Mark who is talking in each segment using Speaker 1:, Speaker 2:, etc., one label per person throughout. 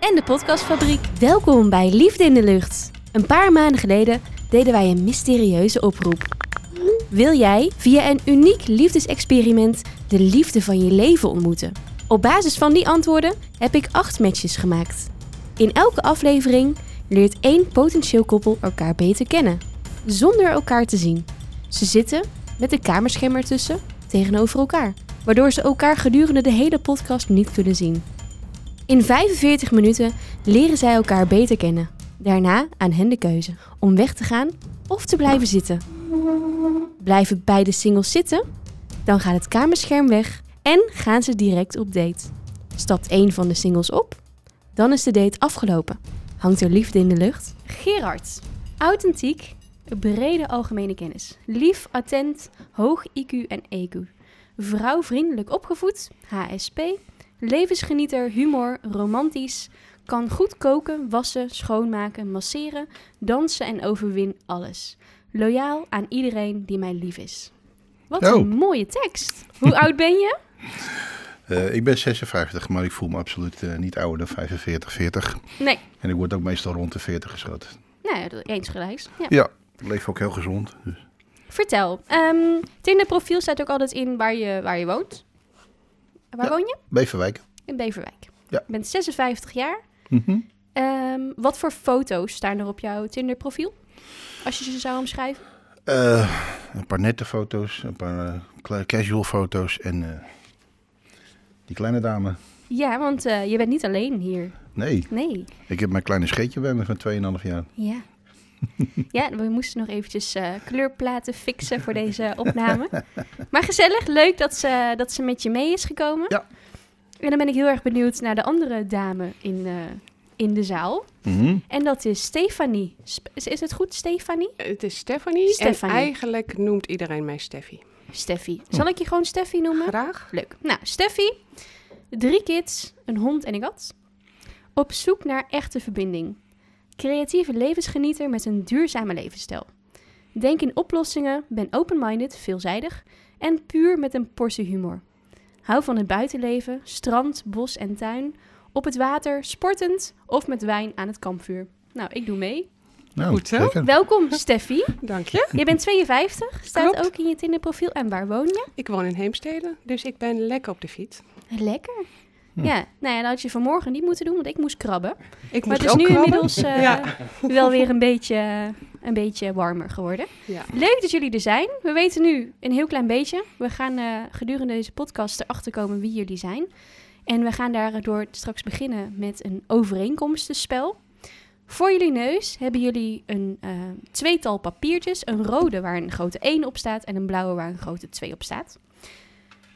Speaker 1: en de Podcastfabriek. Welkom bij Liefde in de Lucht. Een paar maanden geleden deden wij een mysterieuze oproep. Wil jij via een uniek liefdesexperiment de liefde van je leven ontmoeten? Op basis van die antwoorden heb ik acht matches gemaakt. In elke aflevering leert één potentieel koppel elkaar beter kennen, zonder elkaar te zien. Ze zitten met een kamerscherm ertussen tegenover elkaar, waardoor ze elkaar gedurende de hele podcast niet kunnen zien. In 45 minuten leren zij elkaar beter kennen. Daarna aan hen de keuze om weg te gaan of te blijven zitten. Blijven beide singles zitten? Dan gaat het kamerscherm weg en gaan ze direct op date. Stapt één van de singles op? Dan is de date afgelopen. Hangt er liefde in de lucht? Gerard. Authentiek, brede algemene kennis. Lief, attent, hoog IQ en EQ. Vrouwvriendelijk opgevoed, HSP. Levensgenieter, humor, romantisch. Kan goed koken, wassen, schoonmaken, masseren, dansen en overwin alles. Loyaal aan iedereen die mij lief is. Wat
Speaker 2: Oh.
Speaker 1: een mooie tekst. Hoe oud ben je?
Speaker 2: Eh, ik ben 56, maar ik voel me absoluut eh, niet ouder dan 45, 40.
Speaker 1: Nee,
Speaker 2: En ik word ook meestal rond de 40 geschoten.
Speaker 1: nou ja, eens gelijks. Ja.
Speaker 2: Ja, ik leef ook heel gezond. Dus.
Speaker 1: Vertel, ehm Tinder profiel staat ook altijd in waar je, waar je woont. Waar
Speaker 2: Ja.
Speaker 1: woon je?
Speaker 2: Beverwijk.
Speaker 1: In Beverwijk.
Speaker 2: Ja.
Speaker 1: Je bent 56 jaar.
Speaker 2: Mhm.
Speaker 1: Ehm, wat voor foto's staan er op jouw Tinder profiel? Als je ze zou omschrijven.
Speaker 2: Eh, een paar nette foto's, een paar eh, kle- casual foto's en eh, die kleine dame.
Speaker 1: Ja, want eh, je bent niet alleen hier.
Speaker 2: Nee,
Speaker 1: Nee.
Speaker 2: ik heb mijn kleine scheetje bij me van 2,5 jaar.
Speaker 1: Ja. ja, we moesten nog eventjes eh, kleurplaten fixen voor deze opname. Maar gezellig, leuk dat ze, dat ze met je mee is gekomen.
Speaker 2: Ja.
Speaker 1: En dan ben ik heel erg benieuwd naar de andere dame in, eh, in de zaal.
Speaker 2: Mhm.
Speaker 1: En dat is Stefanie. Sp- is, is het goed, Stefanie?
Speaker 3: Het is Stephanie,
Speaker 1: Stephanie.
Speaker 3: en eigenlijk noemt iedereen mij Steffi.
Speaker 1: Steffi. Zal ik je gewoon Steffi noemen?
Speaker 3: Graag.
Speaker 1: Leuk. Nou, Steffi, drie kids, een hond en een kat. Op zoek naar echte verbinding. Creatieve levensgenieter met een duurzame levensstijl. Denk in oplossingen, ben open-minded, veelzijdig en puur met een portie humor. Hou van het buitenleven, strand, bos en tuin, op het water, sportend of met wijn aan het kampvuur. Nou, ik doe mee.
Speaker 2: Nou,
Speaker 3: Goed zo.
Speaker 2: zeker.
Speaker 1: Welkom, Steffi.
Speaker 3: Dank je.
Speaker 1: Je bent 52, staat
Speaker 3: Klopt.
Speaker 1: ook in je Tinderprofiel. En waar woon je?
Speaker 3: Ik woon in Heemstede, dus ik ben lekker op de fiets.
Speaker 1: Lekker. Ja, nou ja, dat had je vanmorgen niet moeten doen, want ik moest krabben.
Speaker 3: Hm. Ik
Speaker 1: Maar
Speaker 3: moest
Speaker 1: het is
Speaker 3: ook
Speaker 1: nu
Speaker 3: krabben.
Speaker 1: inmiddels eh,
Speaker 3: Ja.
Speaker 1: wel weer een beetje, een beetje warmer geworden.
Speaker 3: Ja.
Speaker 1: Leuk dat jullie er zijn. We weten nu een heel klein beetje. We gaan eh, gedurende deze podcast erachter komen wie jullie zijn. En we gaan daardoor straks beginnen met een overeenkomstenspel. Voor jullie neus hebben jullie een eh, tweetal papiertjes. Een rode waar een grote 1 op staat en een blauwe waar een grote 2 op staat.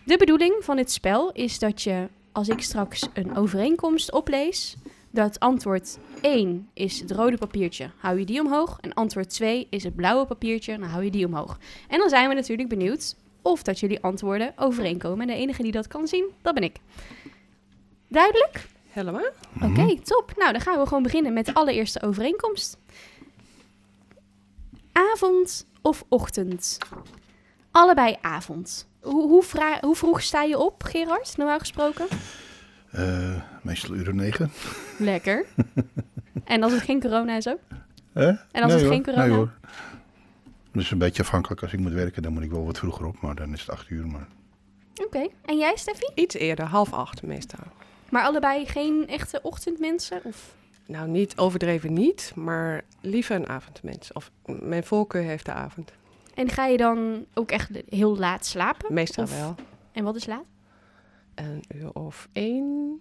Speaker 1: De bedoeling van dit spel is dat je, als ik straks een overeenkomst oplees, dat antwoord 1 is het rode papiertje, hou je die omhoog. En antwoord 2 is het blauwe papiertje, dan hou je die omhoog. En dan zijn we natuurlijk benieuwd of dat jullie antwoorden overeenkomen. En de enige die dat kan zien, dat ben ik. Duidelijk?
Speaker 3: Helemaal.
Speaker 2: Mhm.
Speaker 1: Oké, top. Nou, dan gaan we gewoon beginnen met de allereerste overeenkomst. Avond of ochtend? Allebei avond. Hoe, hoe, vra- hoe vroeg sta je op, Gerard, normaal gesproken?
Speaker 2: Eh, meestal uren 9.
Speaker 1: Lekker. en als het geen corona is ook? En als het geen corona?
Speaker 2: Nee hoor. Dus een beetje afhankelijk als ik moet werken, dan moet ik wel wat vroeger op, maar dan is het 8 uur. Maar
Speaker 1: Oké. En jij, Steffi?
Speaker 3: Iets eerder, half acht meestal.
Speaker 1: Maar allebei geen echte ochtendmensen? Of...
Speaker 3: Nou, niet overdreven niet, maar liever een avondmens. Of m- mijn voorkeur heeft de avond.
Speaker 1: En ga je dan ook echt heel laat slapen?
Speaker 3: Meestal
Speaker 1: Oh, Of-
Speaker 3: wel.
Speaker 1: En wat is laat?
Speaker 3: Een uur of één.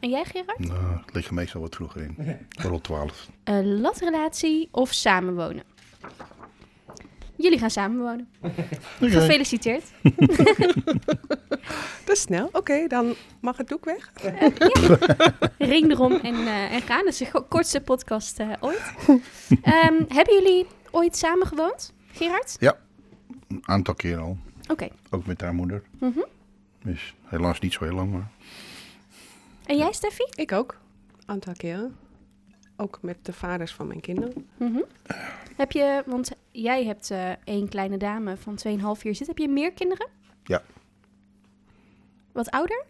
Speaker 1: En jij, Gerard?
Speaker 2: Nou, het ligt er meestal wat vroeger in. Rond 12.
Speaker 1: Een latrelatie of samenwonen? Jullie gaan samenwonen.
Speaker 2: Dus
Speaker 1: Gefeliciteerd.
Speaker 3: Dat is snel. Oké, dan mag het doek weg.
Speaker 1: Ring erom en, eh, en gaan. Dat is de go- kortste podcast eh, ooit. Ehm, hebben jullie ooit samen gewoond, Gerard?
Speaker 2: Een aantal keer al.
Speaker 1: Oké.
Speaker 2: Ook met haar moeder.
Speaker 1: Mhm.
Speaker 2: Dus helaas niet zo heel lang, maar...
Speaker 1: En jij, Steffi?
Speaker 3: Ik ook. Aantal keren. Ook met de vaders van mijn kinderen.
Speaker 1: Mhm. Heb je, want jij hebt eh, één kleine dame van 2,5 jaar zitten. Heb je meer kinderen?
Speaker 2: Ja.
Speaker 1: Wat ouder?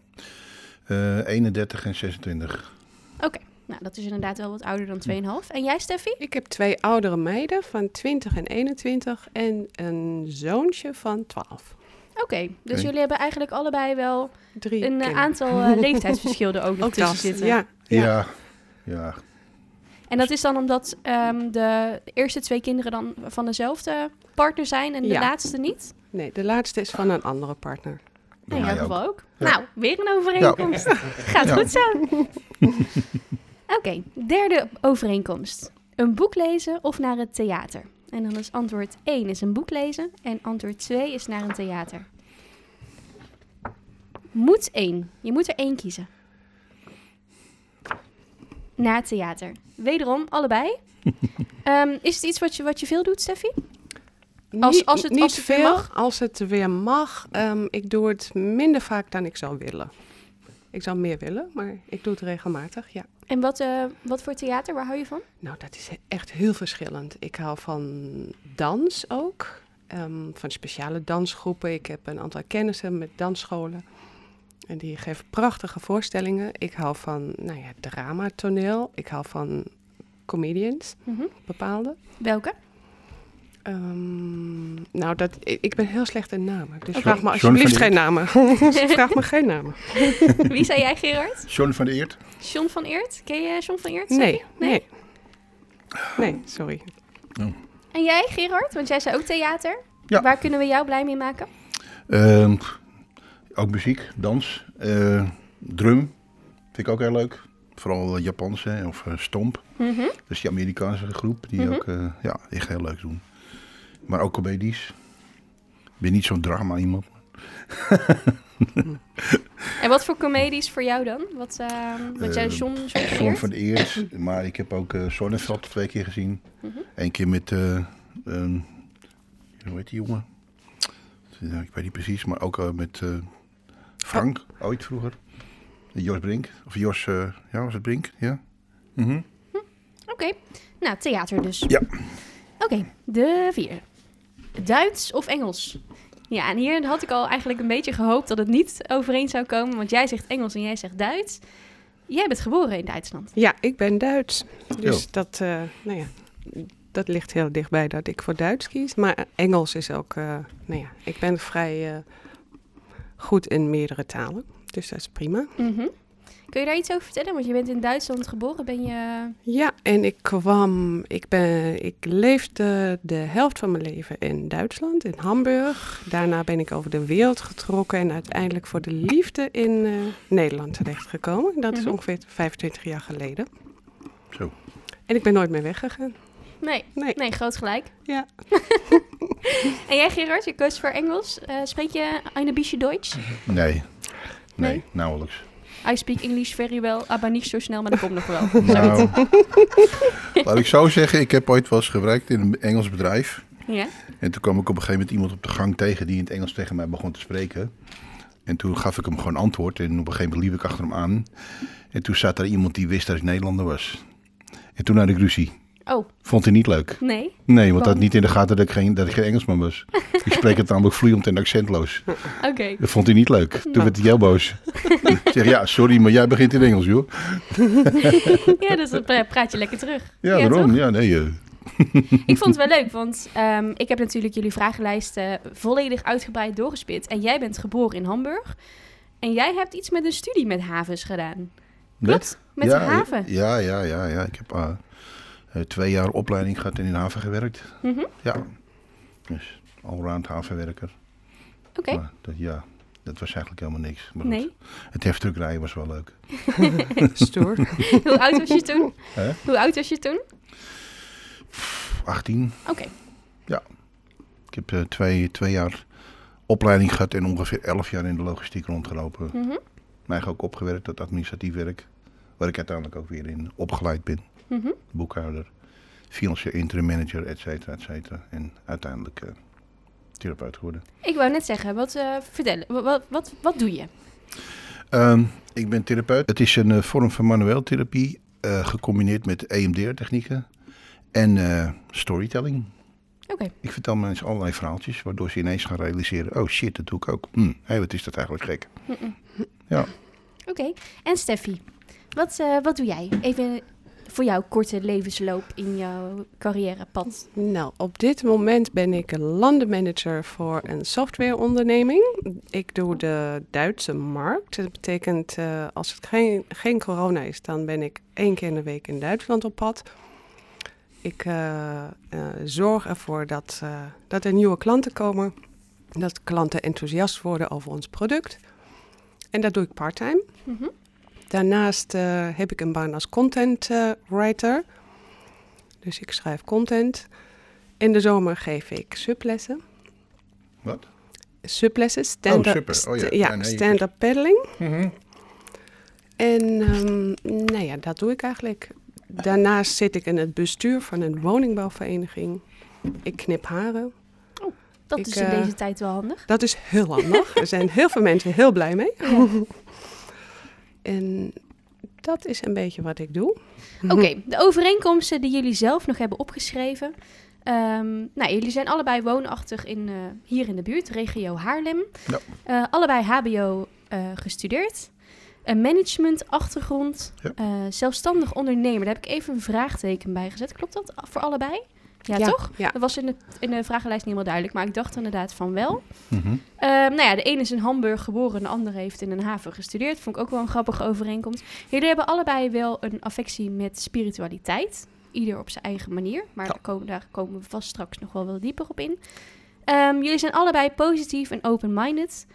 Speaker 2: Eh, 31 en 26.
Speaker 1: Oké, nou dat is inderdaad wel wat ouder dan 2,5. En jij, Steffi?
Speaker 3: Ik heb twee oudere meiden van 20 en 21 en een zoontje van 12.
Speaker 1: Oké, dus
Speaker 2: Oké.
Speaker 1: jullie hebben eigenlijk allebei wel
Speaker 3: Drie
Speaker 1: een eh,
Speaker 3: kinderen.
Speaker 1: aantal eh, leeftijdsverschillen er ook nog
Speaker 3: Ook
Speaker 1: tussen
Speaker 3: dat,
Speaker 1: zitten.
Speaker 3: Ja, ja.
Speaker 2: Ja, ja.
Speaker 1: En dat is dan omdat ehm, de eerste twee kinderen dan van dezelfde partner zijn en de
Speaker 3: Ja.
Speaker 1: laatste niet?
Speaker 3: Nee, de laatste is van een andere partner.
Speaker 1: Nou,
Speaker 2: Bij
Speaker 1: in
Speaker 2: mij
Speaker 1: jouw
Speaker 2: ook.
Speaker 1: geval ook.
Speaker 2: Ja.
Speaker 1: Nou, weer een overeenkomst. Gaat
Speaker 2: Ja.
Speaker 1: goed zo. Oké, derde overeenkomst. Een boek lezen of naar het theater. En dan is antwoord 1 is een boek lezen en antwoord 2 is naar een theater. Moet één. Je moet er één kiezen. Naar het theater. Wederom, allebei. Ehm, is het iets wat je, wat je veel doet, Steffi? Als-
Speaker 3: Niet-
Speaker 1: als het-
Speaker 3: niet
Speaker 1: als het weer
Speaker 3: veel,
Speaker 1: mag?
Speaker 3: als het weer mag. Ehm, ik doe het minder vaak dan ik zou willen. Ik zou meer willen, maar ik doe het regelmatig, ja.
Speaker 1: En wat, eh, wat voor theater? Waar hou je van?
Speaker 3: Nou, dat is echt heel verschillend. Ik hou van dans ook, ehm, van speciale dansgroepen. Ik heb een aantal kennissen met dansscholen. En die geven prachtige voorstellingen. Ik hou van, nou ja, drama, toneel. Ik hou van comedians,
Speaker 1: Mhm.
Speaker 3: bepaalde.
Speaker 1: Welke?
Speaker 3: Ehm, nou, dat, ik, ik ben heel slecht in namen. Dus
Speaker 1: Oké.
Speaker 3: vraag me
Speaker 2: John van
Speaker 3: alsjeblieft
Speaker 2: Eert.
Speaker 3: geen namen. vraag me geen namen.
Speaker 1: Wie zei jij, Gerard?
Speaker 2: John van de Eert.
Speaker 1: John van Eert? Ken je John van Eert? Sophie?
Speaker 3: Nee, nee. Nee, sorry.
Speaker 1: En jij, Gerard? Want jij zei ook theater.
Speaker 2: Ja.
Speaker 1: Waar kunnen we jou blij mee maken?
Speaker 2: Ehm, ook muziek, dans, eh, drum. Vind ik ook heel leuk. Vooral eh, Japanse hè, of eh, stomp. Dat is die Amerikaanse groep die
Speaker 1: Mhm.
Speaker 2: ook eh, ja, echt heel leuk doen. Maar ook comedies. Ik ben niet zo'n drama iemand.
Speaker 1: En wat voor comedies voor jou dan? Wat, ehm, want jij
Speaker 2: Eh,
Speaker 1: is John, John van
Speaker 2: John
Speaker 1: Eert?
Speaker 2: van de Eert. Maar ik heb ook eh Sonneveld twee keer gezien.
Speaker 1: Mhm.
Speaker 2: Eén keer met, eh, ehm, hoe heet die jongen? Ja, Ik weet niet precies, maar ook eh, met eh, Frank,
Speaker 1: Oh.
Speaker 2: ooit vroeger. Eh, Jos Brink. Of Jos, eh, ja, was het Brink? Ja. Mhm.
Speaker 1: Oké. Nou, theater dus.
Speaker 2: Ja.
Speaker 1: Oké, de vier. Duits of Engels? Ja, en hier had ik al eigenlijk een beetje gehoopt dat het niet overeen zou komen. Want jij zegt Engels en jij zegt Duits. Jij bent geboren in Duitsland.
Speaker 3: Ja, ik ben Duits. Dus
Speaker 2: Jo.
Speaker 3: dat, eh, nou ja, dat ligt heel dichtbij dat ik voor Duits kies. Maar Engels is ook, eh, nou ja, ik ben vrij eh, goed in meerdere talen. Dus dat is prima.
Speaker 1: Mhm. Kun je daar iets over vertellen? Want je bent in Duitsland geboren. Ben je...
Speaker 3: Ja, en ik kwam, ik, ben, ik leefde de helft van mijn leven in Duitsland, in Hamburg. Daarna ben ik over de wereld getrokken en uiteindelijk voor de liefde in eh, Nederland terechtgekomen. Dat is
Speaker 1: Mhm.
Speaker 3: ongeveer 25 jaar geleden.
Speaker 2: Zo.
Speaker 3: En ik ben nooit meer weggegaan.
Speaker 1: Nee,
Speaker 3: Nee.
Speaker 1: nee, groot gelijk.
Speaker 3: Ja.
Speaker 1: En jij Gerard, je koos voor Engels. Eh, spreek je een beetje Duits?
Speaker 2: Nee. Nee,
Speaker 1: Nee?
Speaker 2: nauwelijks.
Speaker 1: I speak English very well, aber niet zo snel, maar dat komt nog wel.
Speaker 2: Nou, laat ik zo zeggen, ik heb ooit wel eens gewerkt in een Engels bedrijf.
Speaker 1: Ja?
Speaker 2: En toen kwam ik op een gegeven moment iemand op de gang tegen die in het Engels tegen mij begon te spreken. En toen gaf ik hem gewoon antwoord en op een gegeven moment liep ik achter hem aan. En toen zat daar iemand die wist dat ik Nederlander was. En toen had ik ruzie.
Speaker 1: Oh,
Speaker 2: Vond hij niet leuk.
Speaker 1: nee.
Speaker 2: Nee, want hij
Speaker 1: Waarom?
Speaker 2: had niet in de gaten dat ik geen, dat ik geen Engelsman was. ik spreek het namelijk vloeiend en accentloos.
Speaker 1: Oké.
Speaker 2: Dat vond hij niet leuk. Toen
Speaker 1: Nou.
Speaker 2: werd hij heel boos. ik zeg, ja, sorry, maar jij begint in Engels, joh.
Speaker 1: Ja, dus dan pra- praat je lekker terug.
Speaker 2: Ja,
Speaker 1: Ja,
Speaker 2: daarom. Ja, nee. eh,
Speaker 1: Ik vond het wel leuk, want ehm, ik heb natuurlijk jullie vragenlijsten volledig uitgebreid doorgespit. En jij bent geboren in Hamburg. En jij hebt iets met een studie met havens gedaan. Klopt? Met
Speaker 2: ja,
Speaker 1: een haven.
Speaker 2: Ja, ja, ja, ja. Ik heb eh, eh, twee jaar opleiding gehad en in de haven gewerkt.
Speaker 1: Mhm.
Speaker 2: Ja. Dus allround havenwerker.
Speaker 1: Oké,
Speaker 2: Maar dat, ja, dat was eigenlijk helemaal niks. Maar goed,
Speaker 1: nee.
Speaker 2: Het heftruckrijden was wel leuk.
Speaker 3: Stoer.
Speaker 1: Hoe oud was je toen?
Speaker 2: Hè?
Speaker 1: Hoe oud was je toen?
Speaker 2: Pff, 18.
Speaker 1: Oké.
Speaker 2: Ik heb eh, twee, twee jaar opleiding gehad en ongeveer 11 jaar in de logistiek rondgelopen.
Speaker 1: Mhm.
Speaker 2: Mij ook opgewerkt tot administratief werk. Waar ik uiteindelijk ook weer in opgeleid ben.
Speaker 1: mhm.
Speaker 2: Boekhouder, financieel interim manager, et cetera, et cetera. En uiteindelijk eh, therapeut geworden.
Speaker 1: Ik wou net zeggen, wat eh vertellen? Wa- Wat, wat, wat doe je?
Speaker 2: Ehm, ik ben therapeut. Het is een eh, vorm van manueel therapie, eh, gecombineerd met EMDR-technieken en eh, storytelling.
Speaker 1: Oké.
Speaker 2: Ik vertel mensen allerlei verhaaltjes, waardoor ze ineens gaan realiseren: oh shit, dat doe ik ook. Hm, hé, wat is dat eigenlijk gek?
Speaker 1: Mm-mm.
Speaker 2: Ja.
Speaker 1: Oké. En Steffi, Wat, eh, wat doe jij? Even voor jouw korte levensloop in jouw carrièrepad.
Speaker 3: Nou, op dit moment ben ik landenmanager voor een softwareonderneming. Ik doe de Duitse markt. Dat betekent, eh, als het geen, geen corona is, dan ben ik één keer in de week in Duitsland op pad. Ik eh, eh, zorg ervoor dat, eh, dat er nieuwe klanten komen. Dat klanten enthousiast worden over ons product. En dat doe ik part-time. Daarnaast eh, heb ik een baan als content eh, writer. Dus ik schrijf content. In de zomer geef ik sublessen.
Speaker 2: Wat?
Speaker 3: Sublessen, stand-up
Speaker 2: suppen. Oh ja,
Speaker 3: st-
Speaker 2: ja, nee, je-
Speaker 3: stand-up paddling.
Speaker 2: Mhm.
Speaker 3: En ehm, nou ja, dat doe ik eigenlijk. Daarnaast zit ik in het bestuur van een woningbouwvereniging. Ik knip haren.
Speaker 1: Dat
Speaker 3: Ik,
Speaker 1: is in
Speaker 3: eh,
Speaker 1: deze tijd wel handig.
Speaker 3: Dat is heel handig. er zijn heel veel mensen heel blij mee. en dat is een beetje wat ik doe.
Speaker 1: Oké, de overeenkomsten die jullie zelf nog hebben opgeschreven. Ehm, nou, jullie zijn allebei woonachtig in, eh, hier in de buurt, regio Haarlem.
Speaker 2: Ja.
Speaker 1: Eh, allebei HBO eh, gestudeerd. Een managementachtergrond.
Speaker 2: Ja.
Speaker 1: eh, zelfstandig ondernemer. Daar heb ik even een vraagteken bij gezet. Klopt dat voor allebei? Ja, toch?
Speaker 3: Ja.
Speaker 1: Dat was in de, in de vragenlijst niet helemaal duidelijk, maar ik dacht inderdaad van wel.
Speaker 2: Mhm.
Speaker 1: Ehm, nou ja, de ene is in Hamburg geboren, de andere heeft in een haven gestudeerd. Vond ik ook wel een grappige overeenkomst. Jullie hebben allebei wel een affectie met spiritualiteit. Ieder op zijn eigen manier, maar
Speaker 3: Ja.
Speaker 1: daar, komen, daar komen we vast straks nog wel wel dieper op in. Ehm, jullie zijn allebei positief en open-minded.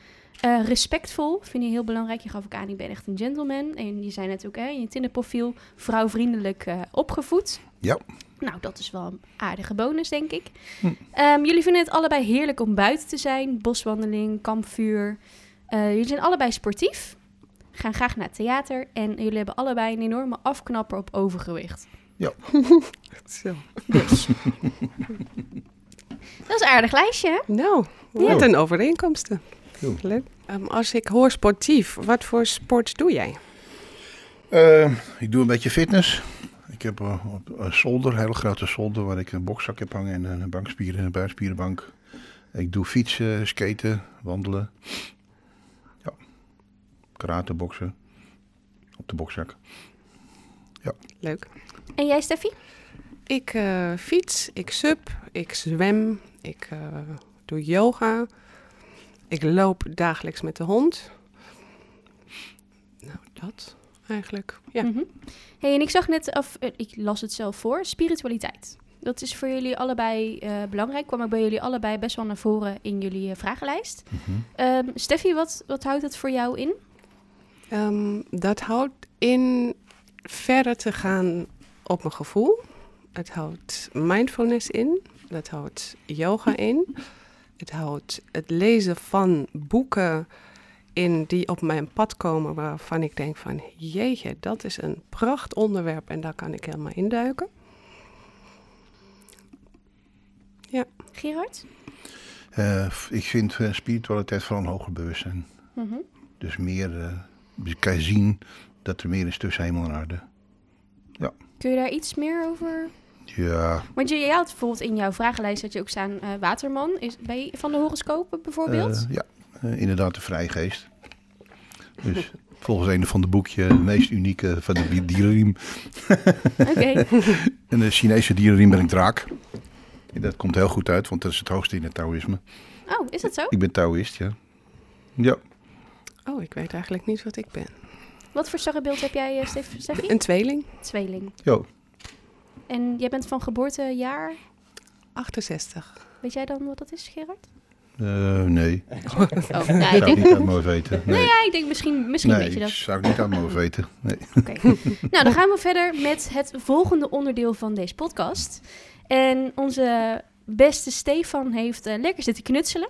Speaker 1: Eh, respectvol vind je heel belangrijk. Je gaf ook aan, ik ben echt een gentleman. En je zei net ook hè, in je Tinderprofiel vrouwvriendelijk eh, opgevoed.
Speaker 2: Ja.
Speaker 1: Nou, dat is wel een aardige bonus, denk ik.
Speaker 2: Hm.
Speaker 1: Ehm, jullie vinden het allebei heerlijk om buiten te zijn. Boswandeling, kampvuur. Eh, jullie zijn allebei sportief. Gaan graag naar het theater. En jullie hebben allebei een enorme afknapper op overgewicht.
Speaker 3: Zo.
Speaker 1: Dat is een aardig lijstje, hè?
Speaker 3: Nou, wat een overeenkomsten.
Speaker 2: Cool.
Speaker 3: Leuk. Ehm, als ik hoor sportief, wat voor sport doe jij?
Speaker 2: Eh, ik doe een beetje fitness. Ik heb eh, op- een zolder, een hele grote zolder, waar ik een bokzak heb hangen en een bankspieren, een buikspierenbank. Ik doe fietsen, skaten, wandelen. Ja. Karate, boksen. Op de bokzak.
Speaker 3: Leuk.
Speaker 1: En jij, Steffi?
Speaker 3: Ik eh, fiets, ik sup, ik zwem, ik eh, doe yoga. Ik loop dagelijks met de hond. Nou, dat eigenlijk. Ja.
Speaker 1: Mhm. Hey, en ik zag net, af, eh, ik las het zelf voor, spiritualiteit. Dat is voor jullie allebei eh, belangrijk. Kwam ook bij jullie allebei best wel naar voren in jullie eh, vragenlijst. Ehm, Steffi, wat, wat houdt het voor jou in?
Speaker 3: Ehm, dat houdt in verder te gaan op mijn gevoel. Het houdt mindfulness in. Dat houdt yoga in. Het houdt het lezen van boeken in die op mijn pad komen waarvan ik denk van jeetje, dat is een pracht onderwerp en daar kan ik helemaal induiken.
Speaker 1: Gerard?
Speaker 2: Eh, f- ik vind eh, spiritualiteit vooral een hoger bewustzijn.
Speaker 1: Mhm.
Speaker 2: Dus meer, eh, je kan zien dat er meer is tussen hemel en aarde.
Speaker 1: Kun je daar iets meer over?
Speaker 2: Ja,
Speaker 1: Want je, jij had bijvoorbeeld in jouw vragenlijst dat je ook staan eh, waterman. Is, ben je van de horoscopen bijvoorbeeld?
Speaker 2: Eh, ja, eh, inderdaad de vrijgeest. Dus volgens een van de boekje, de meest unieke van de bi- dierenriem.
Speaker 1: Oké.
Speaker 2: En de Chinese dierenriem ben ik draak. En dat komt heel goed uit, want dat is het hoogste in het Taoïsme.
Speaker 1: Oh, is dat zo?
Speaker 2: Ik ben Taoïst, ja. Ja,
Speaker 3: Oh, ik weet eigenlijk niet wat ik ben.
Speaker 1: Wat voor sterrenbeeld heb jij, eh, Stef- Steffi?
Speaker 3: Een tweeling,
Speaker 1: Tweeling.
Speaker 2: jo.
Speaker 1: En jij bent van geboortejaar.
Speaker 3: 68.
Speaker 1: Weet jij dan wat dat is, Gerard?
Speaker 2: Eh, nee,
Speaker 1: Oh, nou, ik
Speaker 2: zou ik
Speaker 1: denk,
Speaker 2: niet aan mogen weten. Nee,
Speaker 1: ja, ik denk misschien, misschien
Speaker 2: nee
Speaker 1: weet je
Speaker 2: ik
Speaker 1: dat.
Speaker 2: zou ik niet aan mogen weten. Nee.
Speaker 1: Oké. nou, dan gaan we verder met het volgende onderdeel van deze podcast. En onze beste Stefan heeft eh, lekker zitten knutselen.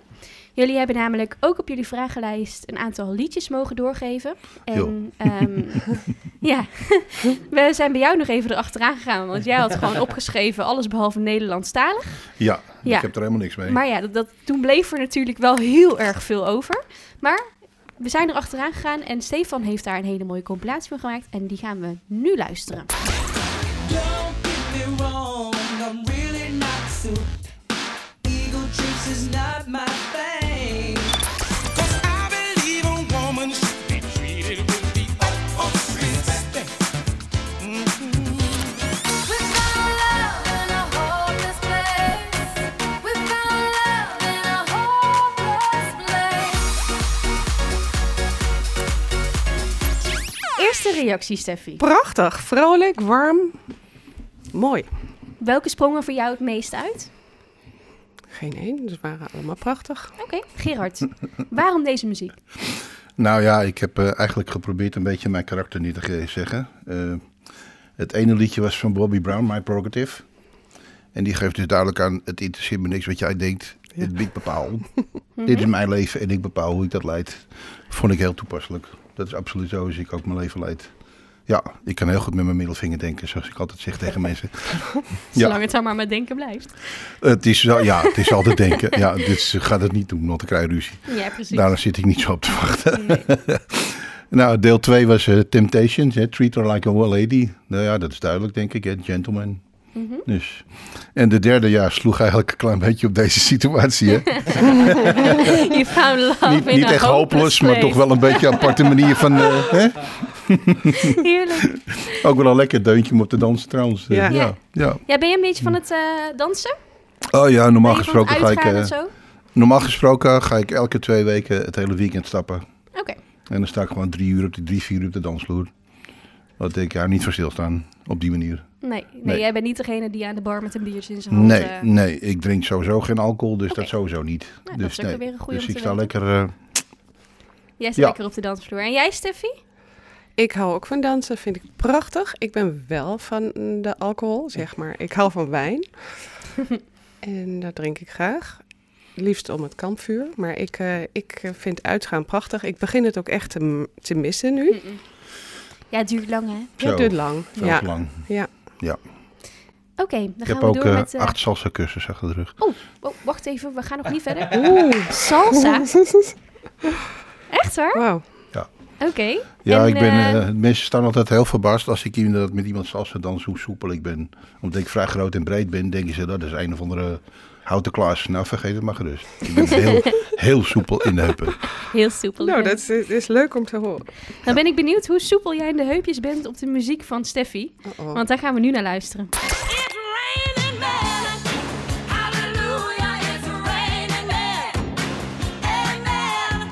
Speaker 1: Jullie hebben namelijk ook op jullie vragenlijst een aantal liedjes mogen doorgeven. En ehm, ja, we zijn bij jou nog even erachteraan gegaan. Want jij had gewoon opgeschreven alles behalve Nederlandstalig.
Speaker 2: Ja,
Speaker 1: Ja.
Speaker 2: ik heb er helemaal niks mee.
Speaker 1: Maar ja, dat, dat, toen bleef er natuurlijk wel heel erg veel over. Maar we zijn erachteraan gegaan en Stefan heeft daar een hele mooie compilatie van gemaakt. En die gaan we nu luisteren.
Speaker 4: Don't get me wrong, I'm really not soup. Eagle trips is not my thing. 'Cause I believe a woman should be treated with the utmost respect.
Speaker 1: eerste reactie, Steffi?
Speaker 3: Prachtig, vrolijk, warm. Mooi.
Speaker 1: Welke sprong er voor jou het meest uit?
Speaker 3: Geen één, dus waren allemaal prachtig.
Speaker 1: Oké, Gerard. Waarom deze muziek?
Speaker 2: Nou ja, ik heb eh, eigenlijk geprobeerd een beetje mijn karakter neer te ge- zeggen. Eh, het ene liedje was van Bobby Brown, My Prerogative. En die geeft dus duidelijk aan, het interesseert me niks wat jij denkt.
Speaker 3: Ja.
Speaker 2: Het Ik bepaal. Dit is mijn leven en ik bepaal hoe ik dat leid. Vond ik heel toepasselijk. Dat is absoluut zo als ik ook mijn leven leid. Ja, ik kan heel goed met mijn middelvinger denken, zoals ik altijd zeg tegen mensen.
Speaker 1: Zolang
Speaker 2: Ja.
Speaker 1: het daar maar met denken blijft.
Speaker 2: Het is, wel- ja, het is altijd denken. Ja, dus gaat het niet doen, want dan krijg je ruzie.
Speaker 1: Ja, precies.
Speaker 2: Daarom zit ik niet zo op te wachten. nou, deel 2 was eh, Temptations. Hè? Treat her like a lady. Nou ja, dat is duidelijk, denk ik. Hè? Gentleman.
Speaker 1: Mhm.
Speaker 2: Dus. En de derde jaar sloeg eigenlijk een klein beetje op deze situatie. Hè?
Speaker 1: You found love
Speaker 2: niet
Speaker 1: in
Speaker 2: niet
Speaker 1: a
Speaker 2: echt hopeless,
Speaker 1: nou hopeless
Speaker 2: maar toch
Speaker 1: place.
Speaker 2: wel een beetje een aparte manier van... eh, hè?
Speaker 1: Heerlijk.
Speaker 2: Ook wel een lekker deuntje om op te dansen trouwens. Eh,
Speaker 3: Ja.
Speaker 2: Ja. ja.
Speaker 1: Ja, ben je een beetje van het eh, dansen?
Speaker 2: Oh ja, normaal
Speaker 1: Ben je van het
Speaker 2: gesproken, ga ik,
Speaker 1: uitgaan en zo?
Speaker 2: eh, normaal gesproken ga ik elke twee weken het hele weekend stappen.
Speaker 1: Oké.
Speaker 2: En dan sta ik gewoon drie uur op die drie, vier uur op de dansvloer. Dat ik daar niet voor stilstaan, op die manier.
Speaker 1: Nee, nee,
Speaker 2: Nee.
Speaker 1: jij bent niet degene die aan de bar met een biertje in zijn hand...
Speaker 2: Nee,
Speaker 1: eh,
Speaker 2: nee, ik drink sowieso geen alcohol, dus
Speaker 1: Oké.
Speaker 2: dat sowieso niet.
Speaker 1: nou, dat
Speaker 2: dus
Speaker 1: is ook
Speaker 2: nee.
Speaker 1: weer een goede
Speaker 2: dus
Speaker 1: om
Speaker 2: ik
Speaker 1: te
Speaker 2: sta
Speaker 1: weten.
Speaker 2: lekker. eh,
Speaker 1: Jij staat
Speaker 2: Ja.
Speaker 1: lekker op de dansvloer. En jij, Steffi?
Speaker 3: Ik hou ook van dansen, vind ik prachtig. Ik ben wel van de alcohol, zeg maar. Ik hou van wijn. en dat drink ik graag. Liefst om het kampvuur. Maar ik, eh, ik eh, vind uitgaan prachtig. Ik begin het ook echt te, m- te missen nu.
Speaker 1: Ja, het duurt lang, hè?
Speaker 2: Zo.
Speaker 3: Het duurt lang.
Speaker 2: veel
Speaker 3: ja.
Speaker 2: te lang.
Speaker 1: Oké, dan
Speaker 2: Ik
Speaker 1: gaan
Speaker 2: heb
Speaker 1: we
Speaker 2: ook
Speaker 1: door
Speaker 2: eh,
Speaker 1: met... eh,
Speaker 2: acht salsa kussen achter de rug.
Speaker 1: Oh, wacht even, we gaan nog niet verder.
Speaker 3: Oeh,
Speaker 1: Salsa? Echt waar?
Speaker 3: wauw.
Speaker 1: Oké.
Speaker 2: Ja,
Speaker 1: En,
Speaker 2: ik ben,
Speaker 1: eh,
Speaker 2: eh, mensen staan altijd heel verbaasd als ik inderdaad met iemand salsa dans, hoe soepel ik ben. Omdat ik vrij groot en breed ben, denken ze dat is een of andere houten klaas. Nou, vergeet het maar gerust. Ik ben heel, heel soepel in de heupen.
Speaker 1: Heel soepel.
Speaker 3: Nou,
Speaker 1: ik ben-
Speaker 3: dat is, is leuk om te horen.
Speaker 1: Dan ben ik benieuwd hoe soepel jij in de heupjes bent op de muziek van Steffi.
Speaker 3: Uh-oh.
Speaker 1: Want daar gaan we nu naar luisteren.
Speaker 4: It's raining men. Hallelujah, it's raining men. Amen.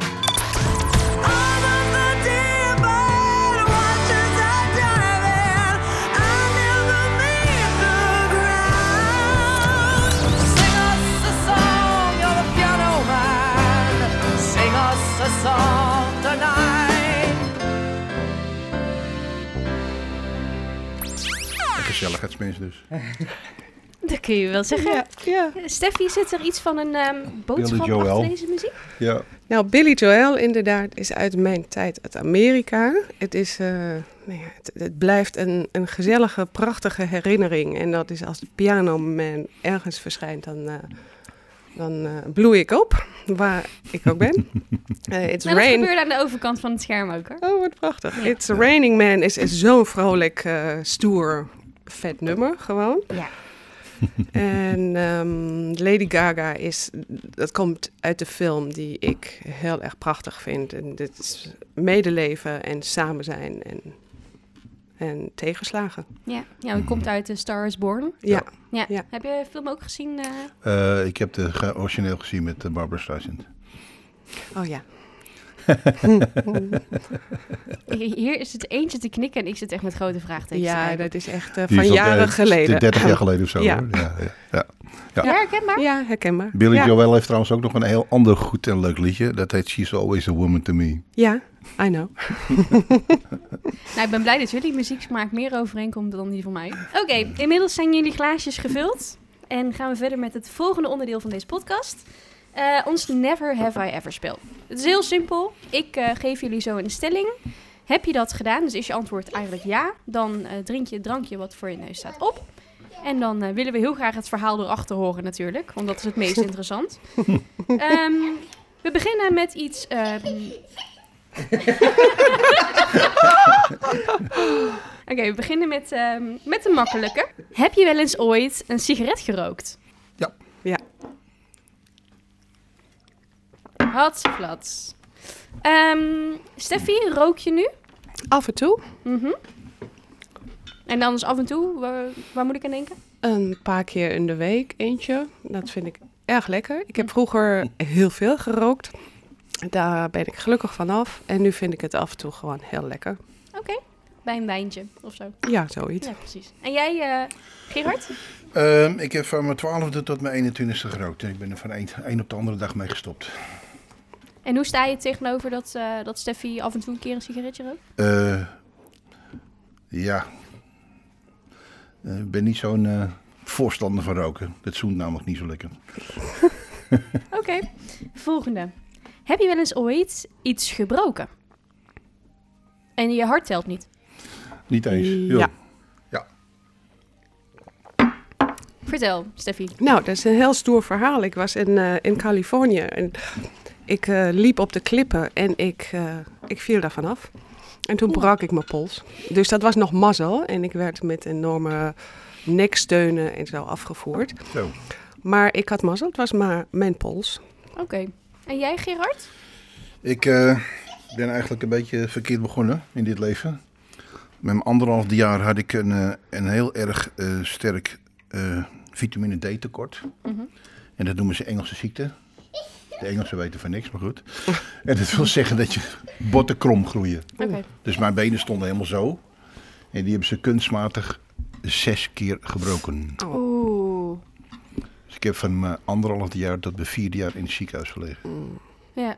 Speaker 4: All of the dear bird watchers are diving. I never leave the ground. Sing us a song, you're the piano man. Sing us a song tonight.
Speaker 2: Gezelligheidsmens dus.
Speaker 1: Dat kun je wel zeggen.
Speaker 3: Ja, ja.
Speaker 1: Steffi, zit er iets van een ehm, boodschap
Speaker 2: Billy Joel.
Speaker 1: achter deze muziek?
Speaker 2: Ja.
Speaker 3: Nou, Billy Joel inderdaad is uit mijn tijd uit Amerika. Het, is, eh, nou ja, het, het blijft een, een gezellige, prachtige herinnering. En dat is als de pianoman ergens verschijnt, dan, eh, dan eh, bloei ik op. Waar ik ook ben. Eh it's
Speaker 1: Nou, dat
Speaker 3: rain.
Speaker 1: gebeurde aan de overkant van het scherm ook hoor.
Speaker 3: Oh, wat prachtig. It's Raining Man is, is zo'n vrolijk, eh, stoer, vet nummer gewoon.
Speaker 1: Ja.
Speaker 3: en ehm, Lady Gaga is, dat komt uit de film die ik heel erg prachtig vind. En dit is medeleven en samen zijn en, en tegenslagen.
Speaker 1: Ja, ja het komt uit de Star is Born.
Speaker 3: Ja.
Speaker 1: Ja.
Speaker 3: Ja.
Speaker 1: Heb je de film ook gezien? eh?
Speaker 2: Eh, ik heb de ge- origineel gezien met eh, Barbara Streisand.
Speaker 3: Oh ja.
Speaker 1: Hier is het eentje te knikken en ik zit echt met grote vraagtekens. te
Speaker 3: Ja,
Speaker 1: kijken.
Speaker 3: dat is echt eh,
Speaker 2: Die
Speaker 3: van
Speaker 2: is al, eh,
Speaker 3: jaren
Speaker 2: t-
Speaker 3: geleden.
Speaker 2: 30 jaar geleden of zo.
Speaker 3: Ja.
Speaker 2: hoor. Ja, ja, ja.
Speaker 1: ja. herkenbaar.
Speaker 3: Ja, herkenbaar.
Speaker 2: Billy
Speaker 3: ja.
Speaker 2: Joel heeft trouwens ook nog een heel ander goed en leuk liedje. Dat heet She's Always a Woman to Me.
Speaker 3: Ja, I know.
Speaker 1: Nou, ik ben blij dat jullie muzieksmaak meer overeenkomt dan die van mij. Oké, inmiddels zijn jullie glaasjes gevuld. En gaan we verder met het volgende onderdeel van deze podcast. Eh, ons Never Have I Ever spel. Het is heel simpel. Ik eh, geef jullie zo een stelling. Heb je dat gedaan? Dus is je antwoord eigenlijk ja? Dan eh, drink je het drankje wat voor je neus staat op. En dan eh, willen we heel graag het verhaal erachter horen natuurlijk. Want dat is het meest interessant. Ehm, we beginnen met iets... ehm, Oké, we beginnen met, ehm, met de makkelijke. Heb je wel eens ooit een sigaret gerookt?
Speaker 2: Ja.
Speaker 3: Ja.
Speaker 1: Hatseflats. Ehm Steffi, rook je nu?
Speaker 3: Af en toe
Speaker 1: Mhm. En dan is af en toe, waar, waar moet ik aan denken?
Speaker 3: Een paar keer in de week eentje. Dat vind ik erg lekker. Ik heb vroeger heel veel gerookt. Daar ben ik gelukkig van af. En nu vind ik het af en toe gewoon heel lekker.
Speaker 1: Oké, bij een wijntje of zo.
Speaker 3: Ja, zoiets.
Speaker 1: Ja, precies. En jij, eh, Gerard?
Speaker 2: Ehm, ik heb van mijn twaalfde tot mijn 21ste gerookt. Ik ben er van één één op de andere dag mee gestopt.
Speaker 1: En hoe sta je tegenover dat, eh, dat Steffi af en toe een keer een sigaretje rookt?
Speaker 2: Eh, ja. Eh, ik ben niet zo'n eh, voorstander van roken. Dat zoent namelijk niet zo lekker.
Speaker 1: Oké, volgende. Heb je wel eens ooit iets gebroken? En je hart telt niet.
Speaker 2: Niet eens. joh.
Speaker 3: Ja.
Speaker 1: Vertel, Steffi.
Speaker 3: Nou, dat is een heel stoer verhaal. Ik was in, eh, in Californië en ik eh, liep op de klippen en ik, eh, ik viel daarvan af. En toen brak ik mijn pols. Dus dat was nog mazzel en ik werd met enorme neksteunen en zo afgevoerd.
Speaker 2: Zo.
Speaker 3: Maar ik had mazzel, het was maar mijn pols.
Speaker 1: Oké. En jij, Gerard?
Speaker 2: Ik eh, ben eigenlijk een beetje verkeerd begonnen in dit leven. Met mijn anderhalf jaar had ik een, eh, een heel erg eh, sterk eh, vitamine D tekort.
Speaker 1: Mhm.
Speaker 2: En dat noemen ze Engelse ziekte. De Engelsen weten van niks, maar goed. En dat wil zeggen dat je botten krom groeien.
Speaker 1: Oké.
Speaker 2: Dus mijn benen stonden helemaal zo. En die hebben ze kunstmatig zes keer gebroken.
Speaker 1: Oh. Oeh.
Speaker 2: Dus ik heb van mijn anderhalf jaar tot mijn vierde jaar in het ziekenhuis gelegen.
Speaker 1: Ja.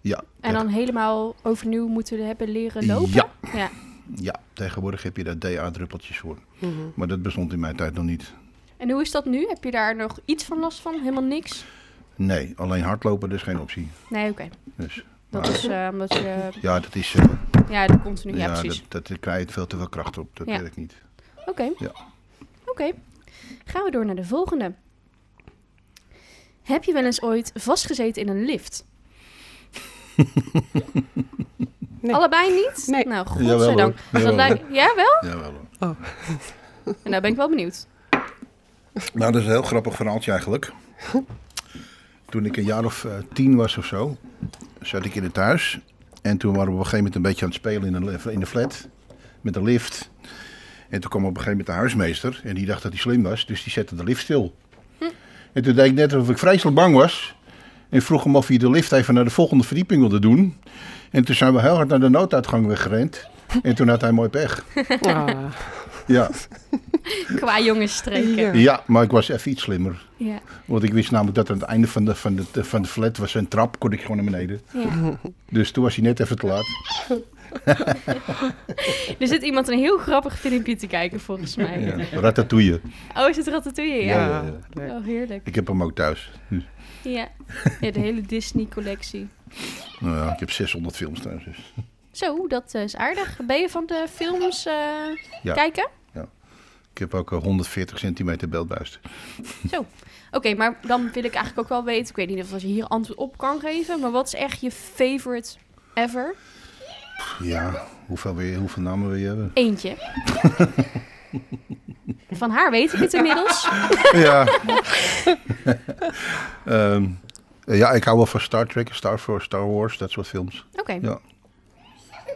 Speaker 2: Ja,
Speaker 1: En dan helemaal overnieuw moeten hebben leren lopen?
Speaker 2: Ja.
Speaker 1: Ja.
Speaker 2: Ja, tegenwoordig heb je daar DA-druppeltjes voor.
Speaker 1: Mhm.
Speaker 2: Maar dat bestond in mijn tijd nog niet.
Speaker 1: En hoe is dat nu? Heb je daar nog iets van last van? Helemaal niks?
Speaker 2: Nee, alleen hardlopen, dat is geen optie.
Speaker 1: Nee, oké.
Speaker 2: Dus,
Speaker 1: Dat
Speaker 2: maar-
Speaker 1: is eh, omdat je...
Speaker 2: ja, dat is... eh,
Speaker 1: Ja, dat continu. Ja,
Speaker 2: ja,
Speaker 1: precies.
Speaker 2: dat, dat daar krijg je veel te veel kracht op. Dat
Speaker 1: Ja.
Speaker 2: werkt niet.
Speaker 1: Oké.
Speaker 2: Ja.
Speaker 1: Oké. Gaan we door naar de volgende. Heb je wel eens ooit vastgezeten in een lift?
Speaker 3: Nee.
Speaker 1: Allebei niet?
Speaker 3: Nee.
Speaker 1: Nou,
Speaker 2: Jawel,
Speaker 1: godzijdank.
Speaker 2: hoor.
Speaker 1: Dus dat
Speaker 2: Jawel,
Speaker 1: lijkt- Ja, wel?
Speaker 2: Jawel hoor.
Speaker 1: En nou ben ik wel benieuwd.
Speaker 2: Nou, dat is een heel grappig verhaaltje eigenlijk. Toen ik een jaar of eh, tien was of zo, zat ik in het thuis. En toen waren we op een gegeven moment een beetje aan het spelen in de, lif- in de flat. Met de lift. En toen kwam op een gegeven moment de huismeester. En die dacht dat hij slim was, dus die zette de lift stil. En toen deed ik net alsof ik vreselijk bang was. En vroeg hem of hij de lift even naar de volgende verdieping wilde doen. En toen zijn we heel hard naar de nooduitgang weggerend. En toen had hij mooi pech.
Speaker 3: Ah.
Speaker 2: Ja,
Speaker 1: Qua jongensstreken.
Speaker 3: Ja.
Speaker 2: ja maar ik was even iets slimmer.
Speaker 1: Ja.
Speaker 2: Want ik wist namelijk dat aan het einde van de, van de, van de flat was een trap, kon ik gewoon naar beneden.
Speaker 1: ja.
Speaker 2: Dus toen was hij net even te laat.
Speaker 1: Er zit iemand een heel grappig filmpje te kijken, volgens mij.
Speaker 2: Ja. Ratatouille.
Speaker 1: Oh, is het Ratatouille? Ja.
Speaker 2: Ja, ja,
Speaker 3: leuk.
Speaker 1: Oh, heerlijk.
Speaker 2: Ik heb hem ook thuis. Hm.
Speaker 1: Ja. ja, de hele Disney-collectie.
Speaker 2: Nou ja, ik heb 600 films thuis. Dus.
Speaker 1: Zo, dat eh, is aardig. Ben je van de films eh,
Speaker 2: Ja.
Speaker 1: kijken?
Speaker 2: Ik heb ook eh, 140 centimeter beeldbuis.
Speaker 1: Zo. Oké, maar dan wil ik eigenlijk ook wel weten. Ik weet niet of als je hier antwoord op kan geven. Maar wat is echt je favorite ever?
Speaker 2: Ja, hoeveel, wil je, hoeveel namen wil je hebben?
Speaker 1: Eentje. Van haar weet ik het inmiddels.
Speaker 2: ja. Ehm, ja, ik hou wel van Star Trek, Star, Wars, Star Wars, dat soort films.
Speaker 1: Oké.
Speaker 2: Ja.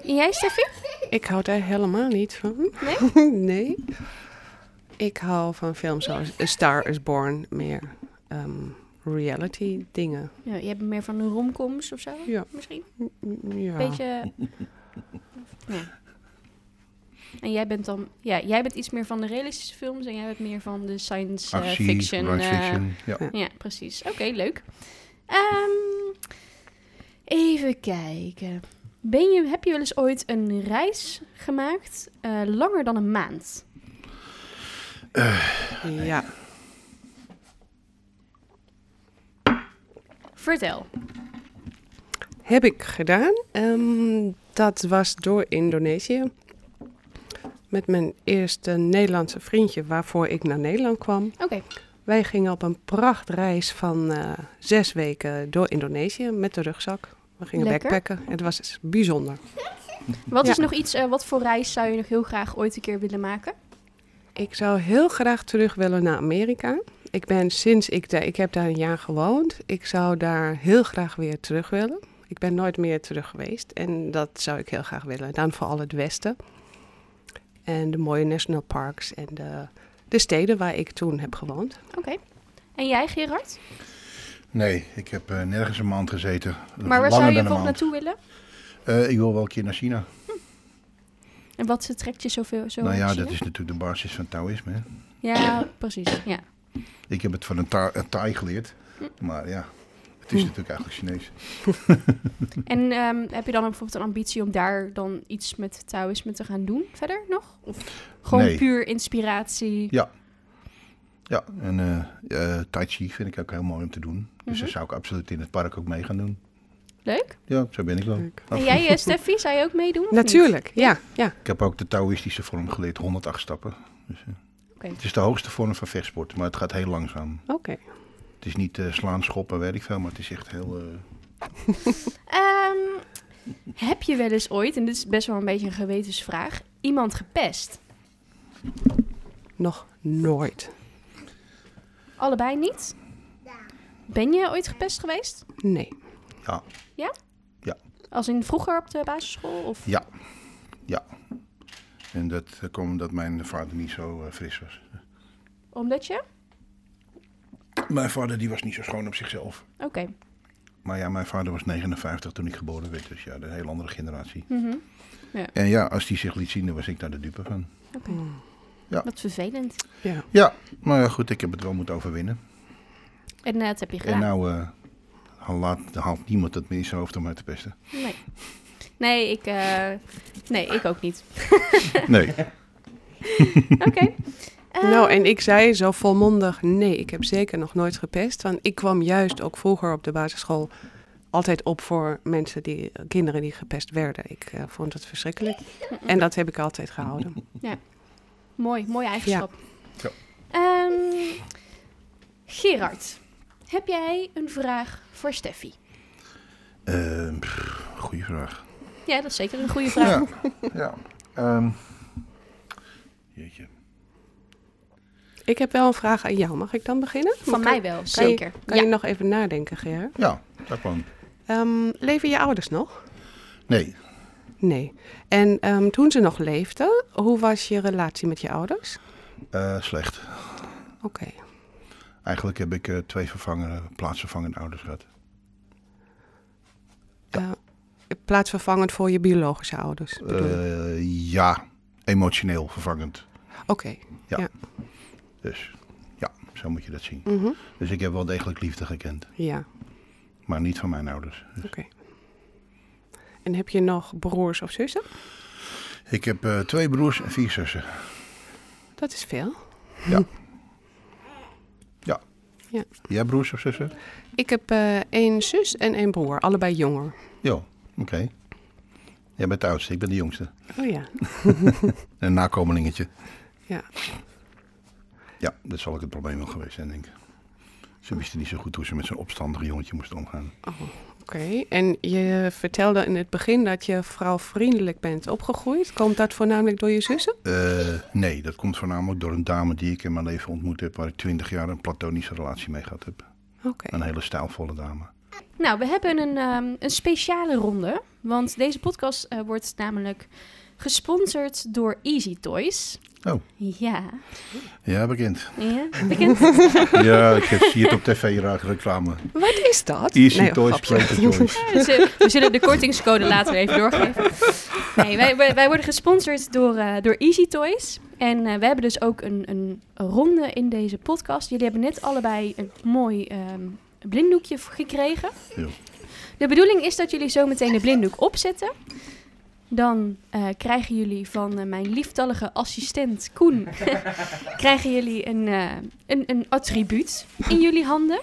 Speaker 1: En jij, Steffi?
Speaker 3: Ik hou daar helemaal niet van.
Speaker 1: Nee?
Speaker 3: nee. Ik hou van films zoals A Star is Born, meer ehm, reality dingen.
Speaker 1: Ja, je hebt meer van de romcoms of zo?
Speaker 3: Ja.
Speaker 1: Misschien?
Speaker 3: Ja.
Speaker 1: Beetje... Ja. En jij bent dan... Ja, jij bent iets meer van de realistische films. En jij bent meer van de science eh,
Speaker 2: Actie,
Speaker 1: fiction.
Speaker 2: science
Speaker 1: eh,
Speaker 2: fiction. Ja.
Speaker 1: Ja, precies. Oké, leuk. Ehm, even kijken. Ben je, heb je wel eens ooit een reis gemaakt eh, langer dan een maand?
Speaker 3: Ja.
Speaker 1: Vertel.
Speaker 3: Heb ik gedaan. Ehm, dat was door Indonesië. Met mijn eerste Nederlandse vriendje waarvoor ik naar Nederland kwam.
Speaker 1: Oké.
Speaker 3: Wij gingen op een prachtreis van eh, zes weken door Indonesië met de rugzak. We gingen
Speaker 1: Lekker.
Speaker 3: backpacken. Het was bijzonder.
Speaker 1: Wat is
Speaker 3: Ja.
Speaker 1: nog iets, eh, wat voor reis zou je nog heel graag ooit een keer willen maken?
Speaker 3: Ik zou heel graag terug willen naar Amerika. Ik ben sinds ik daar, ik heb daar een jaar gewoond. Ik zou daar heel graag weer terug willen. Ik ben nooit meer terug geweest en dat zou ik heel graag willen. Dan vooral het westen en de mooie national parks en de, de steden waar ik toen heb gewoond.
Speaker 1: Oké. En jij, Gerard?
Speaker 2: Nee, ik heb eh, nergens een maand gezeten.
Speaker 1: Maar waar
Speaker 2: Langer
Speaker 1: zou je
Speaker 2: dan een
Speaker 1: bijvoorbeeld
Speaker 2: maand.
Speaker 1: naartoe willen?
Speaker 2: Eh, ik wil wel een keer naar China.
Speaker 1: En En wat ze trekt je zoveel? Zo
Speaker 2: nou ja,
Speaker 1: zeer?
Speaker 2: dat is natuurlijk de basis van Taoïsme. hè.
Speaker 1: Ja, precies. Ja.
Speaker 2: Ik heb het van een, ta een Thai geleerd. Maar ja, het is
Speaker 1: Hm.
Speaker 2: natuurlijk eigenlijk Chinees.
Speaker 1: En ehm, heb je dan bijvoorbeeld een ambitie om daar dan iets met Taoïsme te gaan doen verder nog? Of gewoon
Speaker 2: Nee.
Speaker 1: puur inspiratie?
Speaker 2: Ja. Ja, en eh, eh, Tai Chi vind ik ook heel mooi om te doen. Dus
Speaker 1: Mhm.
Speaker 2: dat zou ik absoluut in het park ook mee gaan doen.
Speaker 1: Leuk.
Speaker 2: Ja, zo ben ik wel. Nou,
Speaker 3: Leuk.
Speaker 1: En jij, eh, Steffi, zou je ook meedoen? of niet?
Speaker 3: Natuurlijk, ja. ja.
Speaker 2: Ik heb ook de Taoïstische vorm geleerd, 108 stappen. Dus, eh,
Speaker 1: Oké.
Speaker 2: Het is de hoogste vorm van vechtsport, maar het gaat heel langzaam.
Speaker 3: Oké.
Speaker 2: Het is niet eh, slaan, schoppen, weet ik veel, maar het is echt heel... eh,
Speaker 1: Ehm, heb je wel eens ooit, en dit is best wel een beetje een gewetensvraag, iemand gepest?
Speaker 3: Nog nooit.
Speaker 1: Allebei niet? Ben je ooit gepest geweest?
Speaker 3: Nee.
Speaker 2: ja,
Speaker 1: Als in vroeger op de basisschool? Of?
Speaker 2: ja, ja. En dat eh, kwam omdat mijn vader niet zo eh, fris was.
Speaker 1: Omdat je?
Speaker 2: Mijn vader die was niet zo schoon op zichzelf.
Speaker 1: Oké.
Speaker 2: Maar ja, mijn vader was 59 toen ik geboren werd. Dus ja, een heel andere generatie.
Speaker 1: Mhm.
Speaker 2: En ja, als die zich liet zien, dan was ik daar de dupe van.
Speaker 1: Oké.
Speaker 2: Ja.
Speaker 1: Wat vervelend.
Speaker 3: Ja.
Speaker 2: Ja, maar ja, goed, ik heb het wel moeten overwinnen.
Speaker 1: En eh, dat heb je gedaan.
Speaker 2: En nou eh, haal- laat, haalt niemand het meer in zijn hoofd om mij te pesten.
Speaker 1: Nee. Nee, ik, eh, nee, ik ook niet.
Speaker 2: Nee,
Speaker 1: Oké. Eh,
Speaker 3: Nou, en ik zei zo volmondig, nee, ik heb zeker nog nooit gepest. Want ik kwam juist ook vroeger op de basisschool altijd op voor mensen die, kinderen die gepest werden. Ik eh, vond het verschrikkelijk. En dat heb ik altijd gehouden.
Speaker 1: Mooi, mooie eigenschap.
Speaker 2: Ja.
Speaker 1: Ehm, Gerard, heb jij een vraag voor Steffi?
Speaker 2: Eh, pff, goeie vraag.
Speaker 1: Ja, dat is zeker een goede vraag.
Speaker 2: Ja, ja. ehm, jeetje.
Speaker 3: Ik heb wel een vraag aan jou. Mag ik dan beginnen?
Speaker 1: Van
Speaker 3: Kan-
Speaker 1: mij wel, zeker.
Speaker 3: Kan
Speaker 1: ja.
Speaker 3: je nog even nadenken, Ger?
Speaker 2: Ja, dat kwam.
Speaker 3: Ehm, leven je ouders nog?
Speaker 2: Nee,
Speaker 3: Nee. En ehm, toen ze nog leefden, hoe was je relatie met je ouders?
Speaker 2: eh, slecht.
Speaker 3: Oké.
Speaker 2: Eigenlijk heb ik eh, twee vervangende, plaatsvervangende ouders gehad.
Speaker 3: Eh, Plaatsvervangend voor je biologische ouders? bedoel je?
Speaker 2: Eh, ja, emotioneel vervangend.
Speaker 3: Oké.
Speaker 2: Dus ja, zo moet je dat zien.
Speaker 3: Mhm.
Speaker 2: Dus ik heb wel degelijk liefde gekend,
Speaker 3: Ja.
Speaker 2: maar niet van mijn ouders. Dus
Speaker 3: En heb je nog broers of zussen?
Speaker 2: ik heb eh, twee broers en vier zussen.
Speaker 3: Dat is veel.
Speaker 2: Jij broers of zussen?
Speaker 3: Ik heb eh, één zus en één broer, allebei jonger.
Speaker 2: Jo, oké. Jij bent de oudste, ik ben de jongste.
Speaker 3: Oh ja.
Speaker 2: Een nakomelingetje.
Speaker 3: Ja.
Speaker 2: Ja, dat zal ook het probleem wel geweest zijn, denk ik. Ze wisten niet zo goed hoe ze met zo'n opstandig jongetje moesten omgaan.
Speaker 3: Oh, Oké. En je vertelde in het begin dat je vrouwvriendelijk bent opgegroeid. Komt dat voornamelijk door je zussen?
Speaker 2: Eh, nee, dat komt voornamelijk door een dame die ik in mijn leven ontmoet heb... waar ik twintig jaar een platonische relatie mee gehad heb.
Speaker 3: Oké.
Speaker 2: Een hele stijlvolle dame.
Speaker 1: Nou, we hebben een, ehm, een speciale ronde. Want deze podcast eh, wordt namelijk gesponsord door Easy Toys.
Speaker 2: Oh.
Speaker 1: Ja.
Speaker 2: Ja, bekend.
Speaker 1: ja. Bekend?
Speaker 2: ja, ik heb- zie het op tv graag reclame.
Speaker 3: Wat is dat?
Speaker 2: Easy
Speaker 3: Nee,
Speaker 2: Toys,
Speaker 3: grapje.
Speaker 2: Plater Joyce.
Speaker 1: We zullen- dus, eh, we zullen de kortingscode later even doorgeven. Nee, wij, wij, wij worden gesponsord door, eh, door Easy Toys. En eh, we hebben dus ook een, een ronde in deze podcast. Jullie hebben net allebei een mooi ehm, blinddoekje v- gekregen.
Speaker 2: Ja.
Speaker 1: De bedoeling is dat jullie zo meteen de blinddoek opzetten. Dan eh, krijgen jullie van eh, mijn lieftallige assistent Koen... krijgen jullie een, eh, een, een attribuut in jullie handen.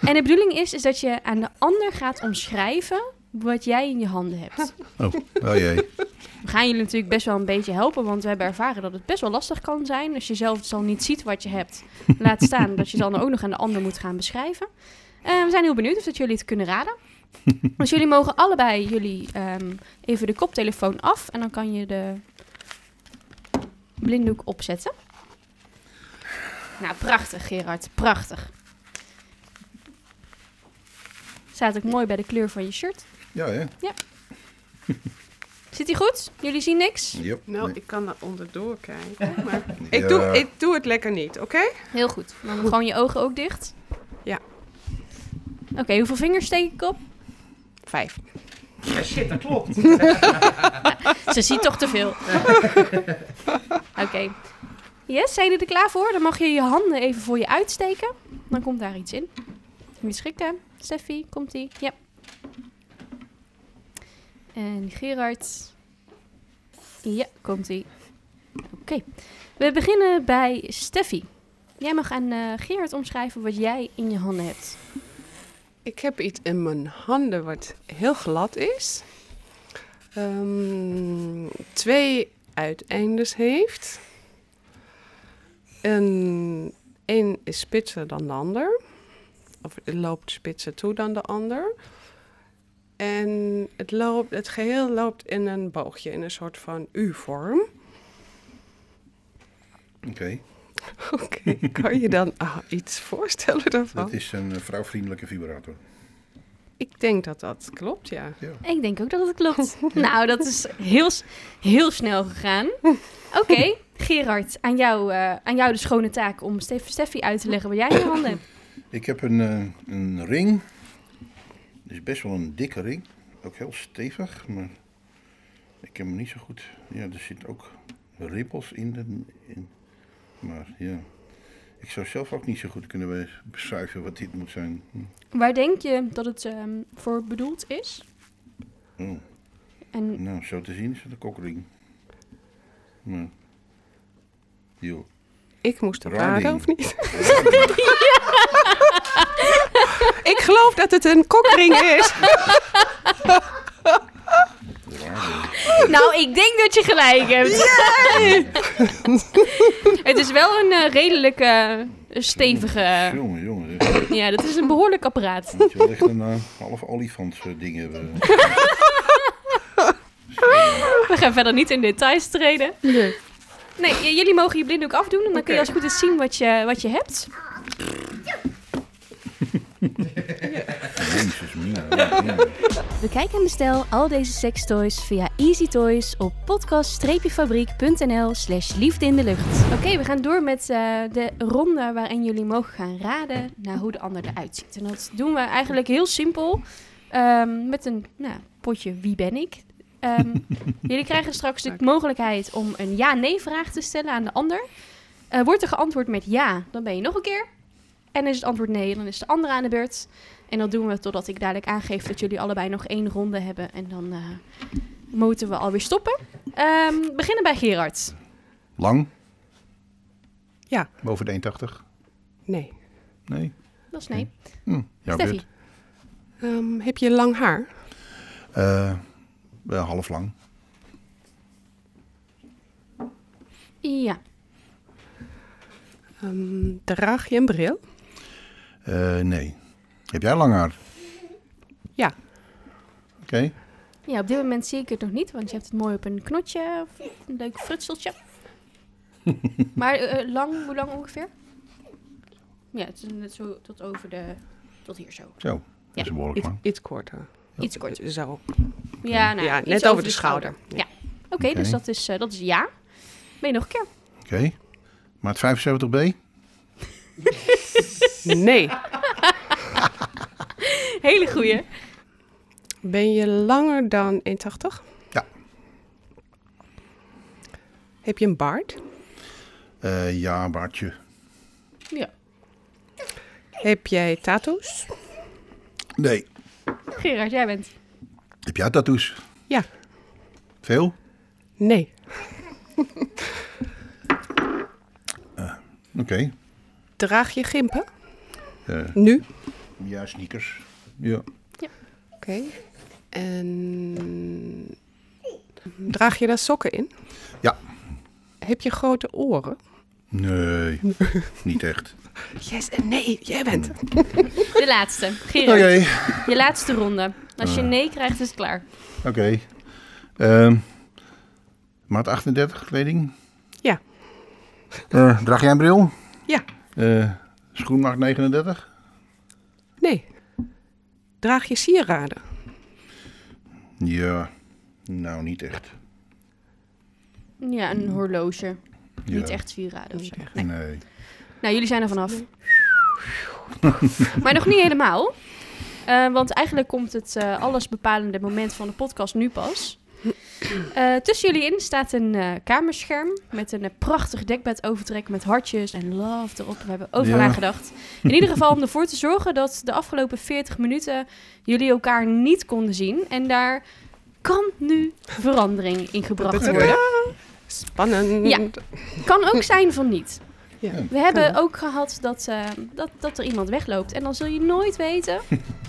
Speaker 1: En de bedoeling is, is dat je aan de ander gaat omschrijven wat jij in je handen hebt.
Speaker 2: Oh jee.
Speaker 1: We gaan jullie natuurlijk best wel een beetje helpen, want we hebben ervaren dat het best wel lastig kan zijn. Als je zelf dus al niet ziet wat je hebt, laat staan dat je het dan ook nog aan de ander moet gaan beschrijven. Eh, we zijn heel benieuwd of dat jullie het kunnen raden. Dus jullie mogen allebei jullie ehm, even de koptelefoon af en dan kan je de blinddoek opzetten. Nou, prachtig Gerard, prachtig. Staat ook mooi bij de kleur van je shirt.
Speaker 2: Ja, hè?
Speaker 1: Zit hij goed? Jullie zien niks?
Speaker 2: Yep.
Speaker 3: Nou,
Speaker 2: Nee.
Speaker 3: ik kan er onderdoor kijken. Maar
Speaker 2: Ja.
Speaker 3: ik, doe, ik doe het lekker niet, oké?
Speaker 1: Heel goed. Dan gewoon je ogen ook dicht.
Speaker 3: Ja.
Speaker 1: Oké, hoeveel vingers steek ik op?
Speaker 3: Vijf.
Speaker 5: Ja, shit, dat klopt.
Speaker 1: Ze ziet toch te veel. Oké. Yes, zijn jullie er klaar voor? Dan mag je je handen even voor je uitsteken. Dan komt daar iets in. Moet je schrikken. Steffi, komt ie. Ja. En Gerard. Ja, komt ie. Oké. We beginnen bij Steffi. Jij mag aan eh, Gerard omschrijven wat jij in je handen hebt.
Speaker 3: Ik heb iets in mijn handen wat heel glad is. Ehm, twee uiteindes heeft. En één is spitser dan de ander. Of het loopt spitser toe dan de ander. En het, loopt, het geheel loopt in een boogje, in een soort van U-vorm.
Speaker 2: Oké,
Speaker 3: Oké, kan je dan ah, iets voorstellen daarvan?
Speaker 2: dat is een eh, vrouwvriendelijke vibrator.
Speaker 3: Ik denk dat dat klopt, ja.
Speaker 2: Ja.
Speaker 1: Ik denk ook dat het klopt. nou, dat is heel, s- heel snel gegaan. Oké, Gerard, aan jou, eh, aan jou de schone taak om Stef Steffi uit te leggen wat jij in je handen hebt.
Speaker 2: Ik heb een, eh, een ring. Het is best wel een dikke ring. Ook heel stevig, maar ik ken hem niet zo goed. Ja, er zitten ook ribbels in, de, in. Maar ja, ik zou zelf ook niet zo goed kunnen be- beschrijven wat dit moet zijn. Hm.
Speaker 1: Waar denk je dat het ehm, voor bedoeld is?
Speaker 2: Oh,
Speaker 1: En
Speaker 2: nou, zo te zien is het een kokring. Maar, joh.
Speaker 3: Ik moest op
Speaker 2: Raar
Speaker 3: raden,
Speaker 2: ding.
Speaker 3: of niet? Ik geloof dat het een kokring is.
Speaker 1: Nou, ik denk dat je gelijk hebt. het is wel een eh, redelijk eh, stevige.
Speaker 2: Jongen, jongen. zeg.
Speaker 1: Ja, dat is een behoorlijk apparaat.
Speaker 2: Moet je wel echt een eh, half olifants eh, ding hebben.
Speaker 1: We gaan verder niet in details treden. Nee, j- jullie mogen je blinddoek afdoen en dan kun je als het goed is zien wat je, wat je hebt.
Speaker 2: Jezus, mina. ja, ja.
Speaker 1: Bekijk in de stijl al deze sextoys via Easy Toys op podcast-fabriek.nl slash liefde in de lucht. Oké, we gaan door met eh, de ronde waarin jullie mogen gaan raden naar hoe de ander eruit ziet. En dat doen we eigenlijk heel simpel ehm, met een nou, potje wie ben ik. Ehm, jullie krijgen straks de mogelijkheid om een ja-nee vraag te stellen aan de ander. Eh, wordt er geantwoord met ja, dan ben je nog een keer. En is het antwoord nee, dan is de andere aan de beurt. En dat doen we totdat ik dadelijk aangeef dat jullie allebei nog één ronde hebben. En dan eh, moeten we alweer stoppen. Ehm, we beginnen bij Gerard.
Speaker 2: Lang?
Speaker 3: Ja.
Speaker 2: Boven de 1,80?
Speaker 3: Nee.
Speaker 2: Nee.
Speaker 1: Dat is nee.
Speaker 2: Hm, jouw
Speaker 1: Steffi.
Speaker 2: beurt.
Speaker 3: Ehm, heb je lang haar?
Speaker 2: Eh, wel half lang.
Speaker 1: Ja.
Speaker 3: Ehm, draag je een bril?
Speaker 2: Eh, nee. Heb jij lang haar?
Speaker 3: Ja.
Speaker 2: Oké.
Speaker 1: ja, op dit moment zie ik het nog niet, want je hebt het mooi op een knotje. Of een leuk frutseltje. maar eh, lang, hoe lang ongeveer? Ja, het is net zo tot over de... Tot hier zo.
Speaker 2: Zo. Dat is een behoorlijk
Speaker 3: Iets,
Speaker 2: lang.
Speaker 3: iets korter.
Speaker 1: Iets korter.
Speaker 3: Zo.
Speaker 1: Ja, nou,
Speaker 3: Ja,
Speaker 1: iets
Speaker 3: net over de schouder.
Speaker 1: Ja. Oké, dus
Speaker 2: Oké.
Speaker 1: dat is, eh, dat is ja. Ben je nog een keer?
Speaker 2: Oké. Maat 75B?
Speaker 3: Nee.
Speaker 1: Hele goeie.
Speaker 3: Ben je langer dan 1,80?
Speaker 2: Ja.
Speaker 3: Heb je een baard?
Speaker 2: Eh, ja, baardje.
Speaker 1: Ja.
Speaker 3: Heb jij tattoos?
Speaker 2: Nee.
Speaker 1: Gerard, jij bent.
Speaker 2: Heb jij tattoos?
Speaker 3: Ja.
Speaker 2: Veel?
Speaker 3: Nee.
Speaker 2: Oké.
Speaker 3: Draag je gimpen?
Speaker 2: Eh,
Speaker 3: Nu? Oké.
Speaker 2: ja, sneakers. Ja.
Speaker 3: En draag je daar sokken in?
Speaker 2: Ja.
Speaker 3: Heb je grote oren?
Speaker 2: Nee. niet echt.
Speaker 3: Yes en nee, jij bent.
Speaker 1: De laatste.
Speaker 2: Oké.
Speaker 1: Gerard, je laatste ronde. Als je nee krijgt, is het klaar.
Speaker 2: Oké. Ehm, maat 38 kleding?
Speaker 3: Ja.
Speaker 2: Eh, draag jij een bril?
Speaker 3: Ja,
Speaker 2: Eh, schoenmaat 39?
Speaker 3: nee. Draag je sieraden?
Speaker 2: Ja, nou niet echt.
Speaker 1: Ja, een horloge.
Speaker 2: Ja.
Speaker 1: Niet echt sieraden of zo.
Speaker 2: Nee.
Speaker 1: Nou, jullie zijn er vanaf. maar nog niet helemaal. Eh, want eigenlijk komt het eh allesbepalende moment van de podcast nu pas. Eh, tussen jullie in staat een eh, kamerscherm met een eh, prachtig dekbedovertrek met hartjes en love erop. We hebben overal
Speaker 2: Ja.
Speaker 1: aan gedacht. In ieder geval om ervoor te zorgen dat de afgelopen 40 minuten jullie elkaar niet konden zien. En daar kan nu verandering in gebracht
Speaker 2: Oké.
Speaker 1: worden.
Speaker 3: Spannend.
Speaker 1: Ja. Kan ook zijn van niet.
Speaker 3: Ja.
Speaker 1: We hebben ook gehad dat, eh, dat, dat er iemand wegloopt. En dan zul je nooit weten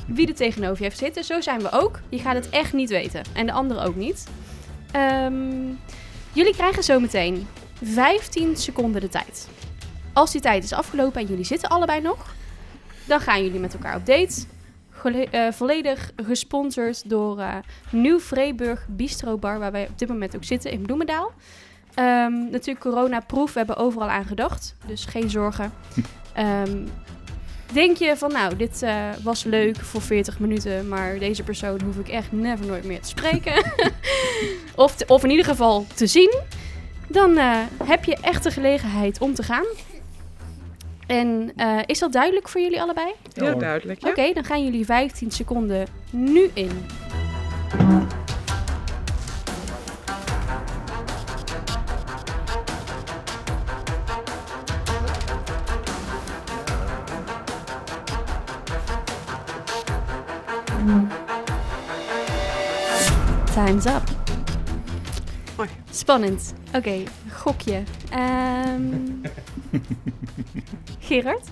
Speaker 1: wie er tegenover je heeft zitten. Zo zijn we ook. Je gaat het echt niet weten. En de anderen ook niet. Ehm, jullie krijgen zometeen 15 seconden de tijd. Als die tijd is afgelopen en jullie zitten allebei nog, dan gaan jullie met elkaar op date. Gele- eh, volledig gesponsord door eh, Nieuw Vreeburg Bistro Bar, waar wij op dit moment ook zitten in Bloemendaal. Ehm, natuurlijk coronaproof, we hebben overal aan gedacht, dus geen zorgen. Ehm, denk je van nou, dit eh, was leuk voor 40 minuten, maar deze persoon hoef ik echt never nooit meer te spreken. of, te- of in ieder geval te zien. Dan eh, heb je echt de gelegenheid om te gaan. En eh, is dat duidelijk voor jullie allebei?
Speaker 3: Heel duidelijk, ja.
Speaker 1: Oké, dan gaan jullie 15 seconden nu in. Time's up.
Speaker 3: Mooi.
Speaker 1: Spannend. Oké, gokje. Ehm, Gerard,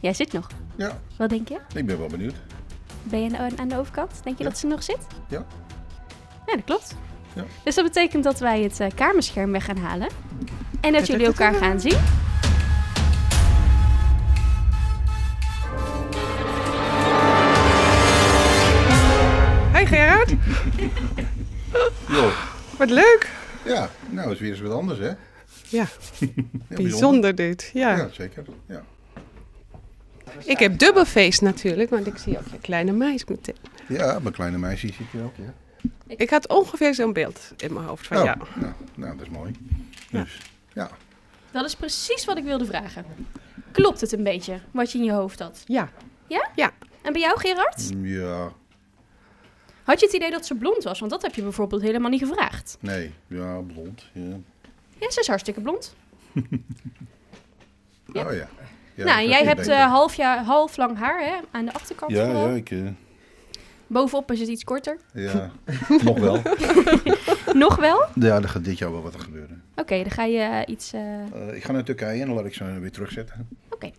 Speaker 1: jij zit nog.
Speaker 2: Ja,
Speaker 1: Wat denk je?
Speaker 2: ik ben wel benieuwd.
Speaker 1: Ben je nou aan- aan de overkant? Denk je
Speaker 2: Ja.
Speaker 1: dat ze nog zit?
Speaker 2: Ja.
Speaker 1: Ja, dat klopt.
Speaker 2: Ja.
Speaker 1: Dus dat betekent dat wij het eh, kamerscherm weg gaan halen. En dat jullie
Speaker 3: Ta-ta-ta-ta.
Speaker 1: elkaar gaan zien.
Speaker 3: Hey Gerard,
Speaker 2: Jo.
Speaker 3: wat leuk.
Speaker 2: Ja, nou is weer eens wat anders, hè? Heel
Speaker 3: Ja, bijzonder dit. Ja.
Speaker 2: Ja, zeker. Ja.
Speaker 3: Ik heb dubbel feest natuurlijk, want ik zie ook je kleine meis meteen.
Speaker 2: ja, mijn kleine meisje zit hier ook, ja.
Speaker 3: Ik had ongeveer zo'n beeld in mijn hoofd van
Speaker 2: Oh,
Speaker 3: jou.
Speaker 2: Nou, nou, dat is mooi. Dus, ja.
Speaker 1: Dat is precies wat ik wilde vragen. Klopt het een beetje, wat je in je hoofd had?
Speaker 3: Ja.
Speaker 1: En bij jou, Gerard?
Speaker 2: Ja,
Speaker 1: Had je het idee dat ze blond was? Want dat heb je bijvoorbeeld helemaal niet gevraagd.
Speaker 2: nee. Ja, blond. Ja.
Speaker 1: Ja, ze is hartstikke blond. Ja.
Speaker 2: Oh ja. ja
Speaker 1: nou,
Speaker 2: dat
Speaker 1: en jij
Speaker 2: is
Speaker 1: hebt
Speaker 2: beter.
Speaker 1: eh, half, jaar, half lang haar hè? aan de achterkant.
Speaker 2: Ja,
Speaker 1: vooral.
Speaker 2: ja, ik... eh,
Speaker 1: Bovenop is het iets korter.
Speaker 2: ja, nog wel.
Speaker 1: Nog wel? Oké,
Speaker 2: Ja, er gaat dit jaar wel wat gebeuren.
Speaker 1: dan ga je eh, iets... eh,
Speaker 2: Eh, ik ga naar Turkije en dan laat ik ze weer terugzetten.
Speaker 1: Oké.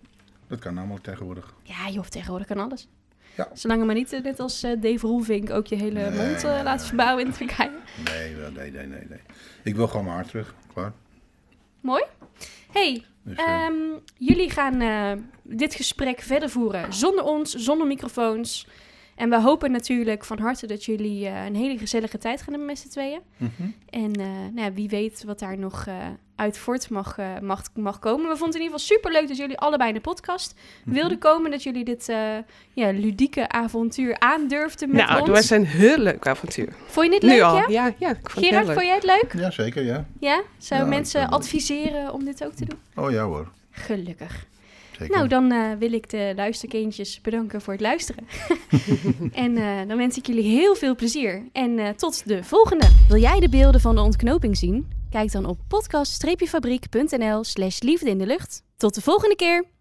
Speaker 2: Dat kan namelijk tegenwoordig.
Speaker 1: Ja, joh, tegenwoordig kan alles.
Speaker 2: Ja.
Speaker 1: Zolang je maar niet, eh, net als eh, Dave Roelvink, ook je hele
Speaker 2: Nee,
Speaker 1: mond eh,
Speaker 2: nee,
Speaker 1: laat verbouwen in Turkije.
Speaker 2: Nee, wel, nee, nee, nee, nee. Ik wil gewoon mijn haar terug. Klaar.
Speaker 1: Mooi. hey,
Speaker 2: Dus, eh,
Speaker 1: ehm, jullie gaan eh, dit gesprek verder voeren zonder ons, zonder microfoons. En we hopen natuurlijk van harte dat jullie eh, een hele gezellige tijd gaan hebben met z'n tweeën.
Speaker 2: mhm.
Speaker 1: En eh, nou, ja, wie weet wat daar nog eh, uit voort mag, eh, mag, mag komen. We vonden het in ieder geval superleuk dat jullie allebei in de podcast
Speaker 2: Mhm.
Speaker 1: wilden komen. Dat jullie dit eh, ja, ludieke avontuur aandurfden met
Speaker 3: nou,
Speaker 1: ons.
Speaker 3: het was een heel leuk avontuur.
Speaker 1: Vond je het
Speaker 3: nu
Speaker 1: leuk,
Speaker 3: al.
Speaker 1: ja?
Speaker 3: Ja, ja, ik vond
Speaker 1: Gerard,
Speaker 3: het
Speaker 1: vond
Speaker 3: heel leuk.
Speaker 1: jij het leuk?
Speaker 2: Ja, zeker, ja.
Speaker 1: Ja? Zou
Speaker 2: Ja, ik
Speaker 1: mensen
Speaker 2: vond het leuk.
Speaker 1: adviseren om dit ook te doen?
Speaker 2: Oh ja hoor,
Speaker 1: Gelukkig.
Speaker 2: zeker.
Speaker 1: Nou, dan eh, wil ik de luisterkindjes bedanken voor het luisteren. en eh, dan wens ik jullie heel veel plezier. En eh, tot de volgende. Wil jij de beelden van de ontknoping zien? Kijk dan op podcast-fabriek.nl slash liefde in de lucht. Tot de volgende keer!